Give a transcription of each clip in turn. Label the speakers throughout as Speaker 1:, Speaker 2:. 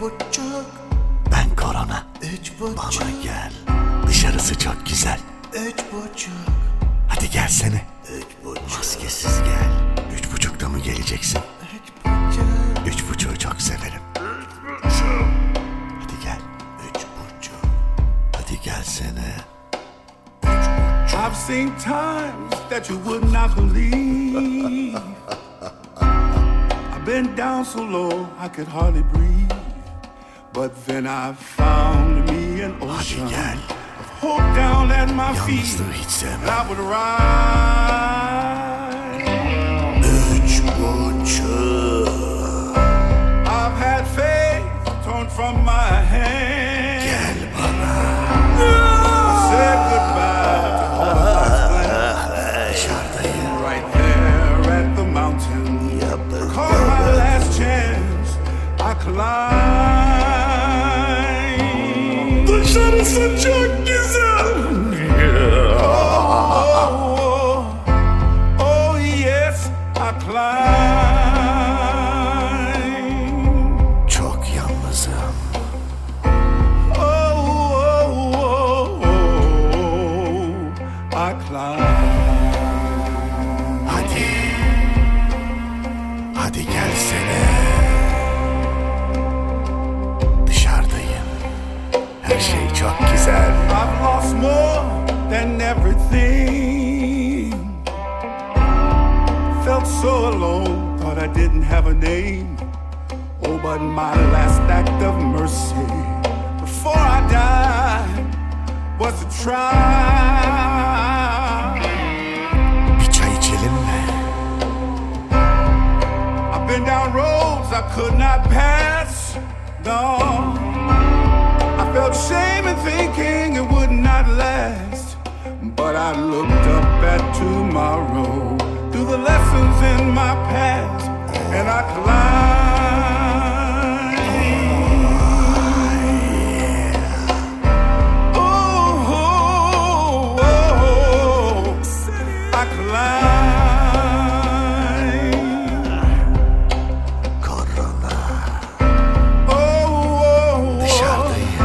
Speaker 1: buçuk,
Speaker 2: Ben korona.
Speaker 1: üç buçuk,
Speaker 2: Bana gel. Dışarısı çok güzel.
Speaker 1: üç buçuk,
Speaker 2: Hadi gelsene. Üç buçuk. Maskesiz gel. Üç buçukta mı geleceksin?
Speaker 1: üç buçuk,
Speaker 2: Üç buçuğu çok severim. Üç buçuk. Hadi gel. Üç buçuk. Hadi gelsene.
Speaker 3: I've seen times that you would not believe. I've been down so low I could hardly breathe. But then I found me an ocean
Speaker 2: gel.
Speaker 3: of hope down at my feet.
Speaker 2: Yalnızlığı hiç
Speaker 3: And
Speaker 2: sevmem.
Speaker 3: I would rise.
Speaker 2: Üç buçuk.
Speaker 3: I've had faith torn from my hand.
Speaker 2: Gel bana.
Speaker 3: I said goodbye
Speaker 2: Dışarıdayım.
Speaker 3: right there at the mountain.
Speaker 2: Yapın.
Speaker 3: Call my last chance. I climb.
Speaker 2: Dışarısı çok güzel.
Speaker 3: Oh, oh yes, I climb.
Speaker 2: Çok yalnızım.
Speaker 3: Oh, oh, oh, oh, I climb.
Speaker 2: Hadi. Hadi gelsene. Dışarıdayım. Her şey çok güzel.
Speaker 3: I've lost more than everything. Felt so alone, thought I didn't have a name. Oh, but my last act of mercy before I died was to try.
Speaker 2: Bir çay içelim mi?
Speaker 3: I've been down roads I could not pass. No, I felt shame in thinking it would not last. But I looked up at tomorrow through the lessons in my past, and I climbed. Oh, oh, oh, oh. I climbed.
Speaker 2: Korona.
Speaker 3: Oh, oh, oh.
Speaker 2: Dışarıdayım.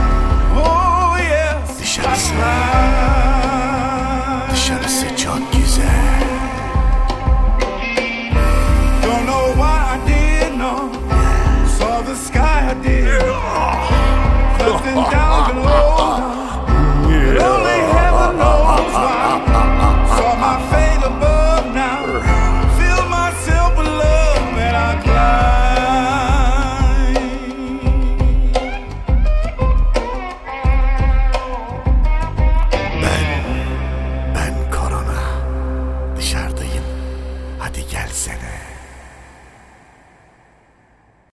Speaker 3: Oh, yes.
Speaker 2: Dışarısı.
Speaker 3: I climb.
Speaker 2: Dışarısı çok güzel.
Speaker 3: Don't know why I did, no. Saw the sky I did. Nothing down below. no. And Only heaven knows why. Saw my fate above now. Feel myself with love and I climb.
Speaker 2: Ben, ben korona. Dışarıdayım. Hadi gelsene.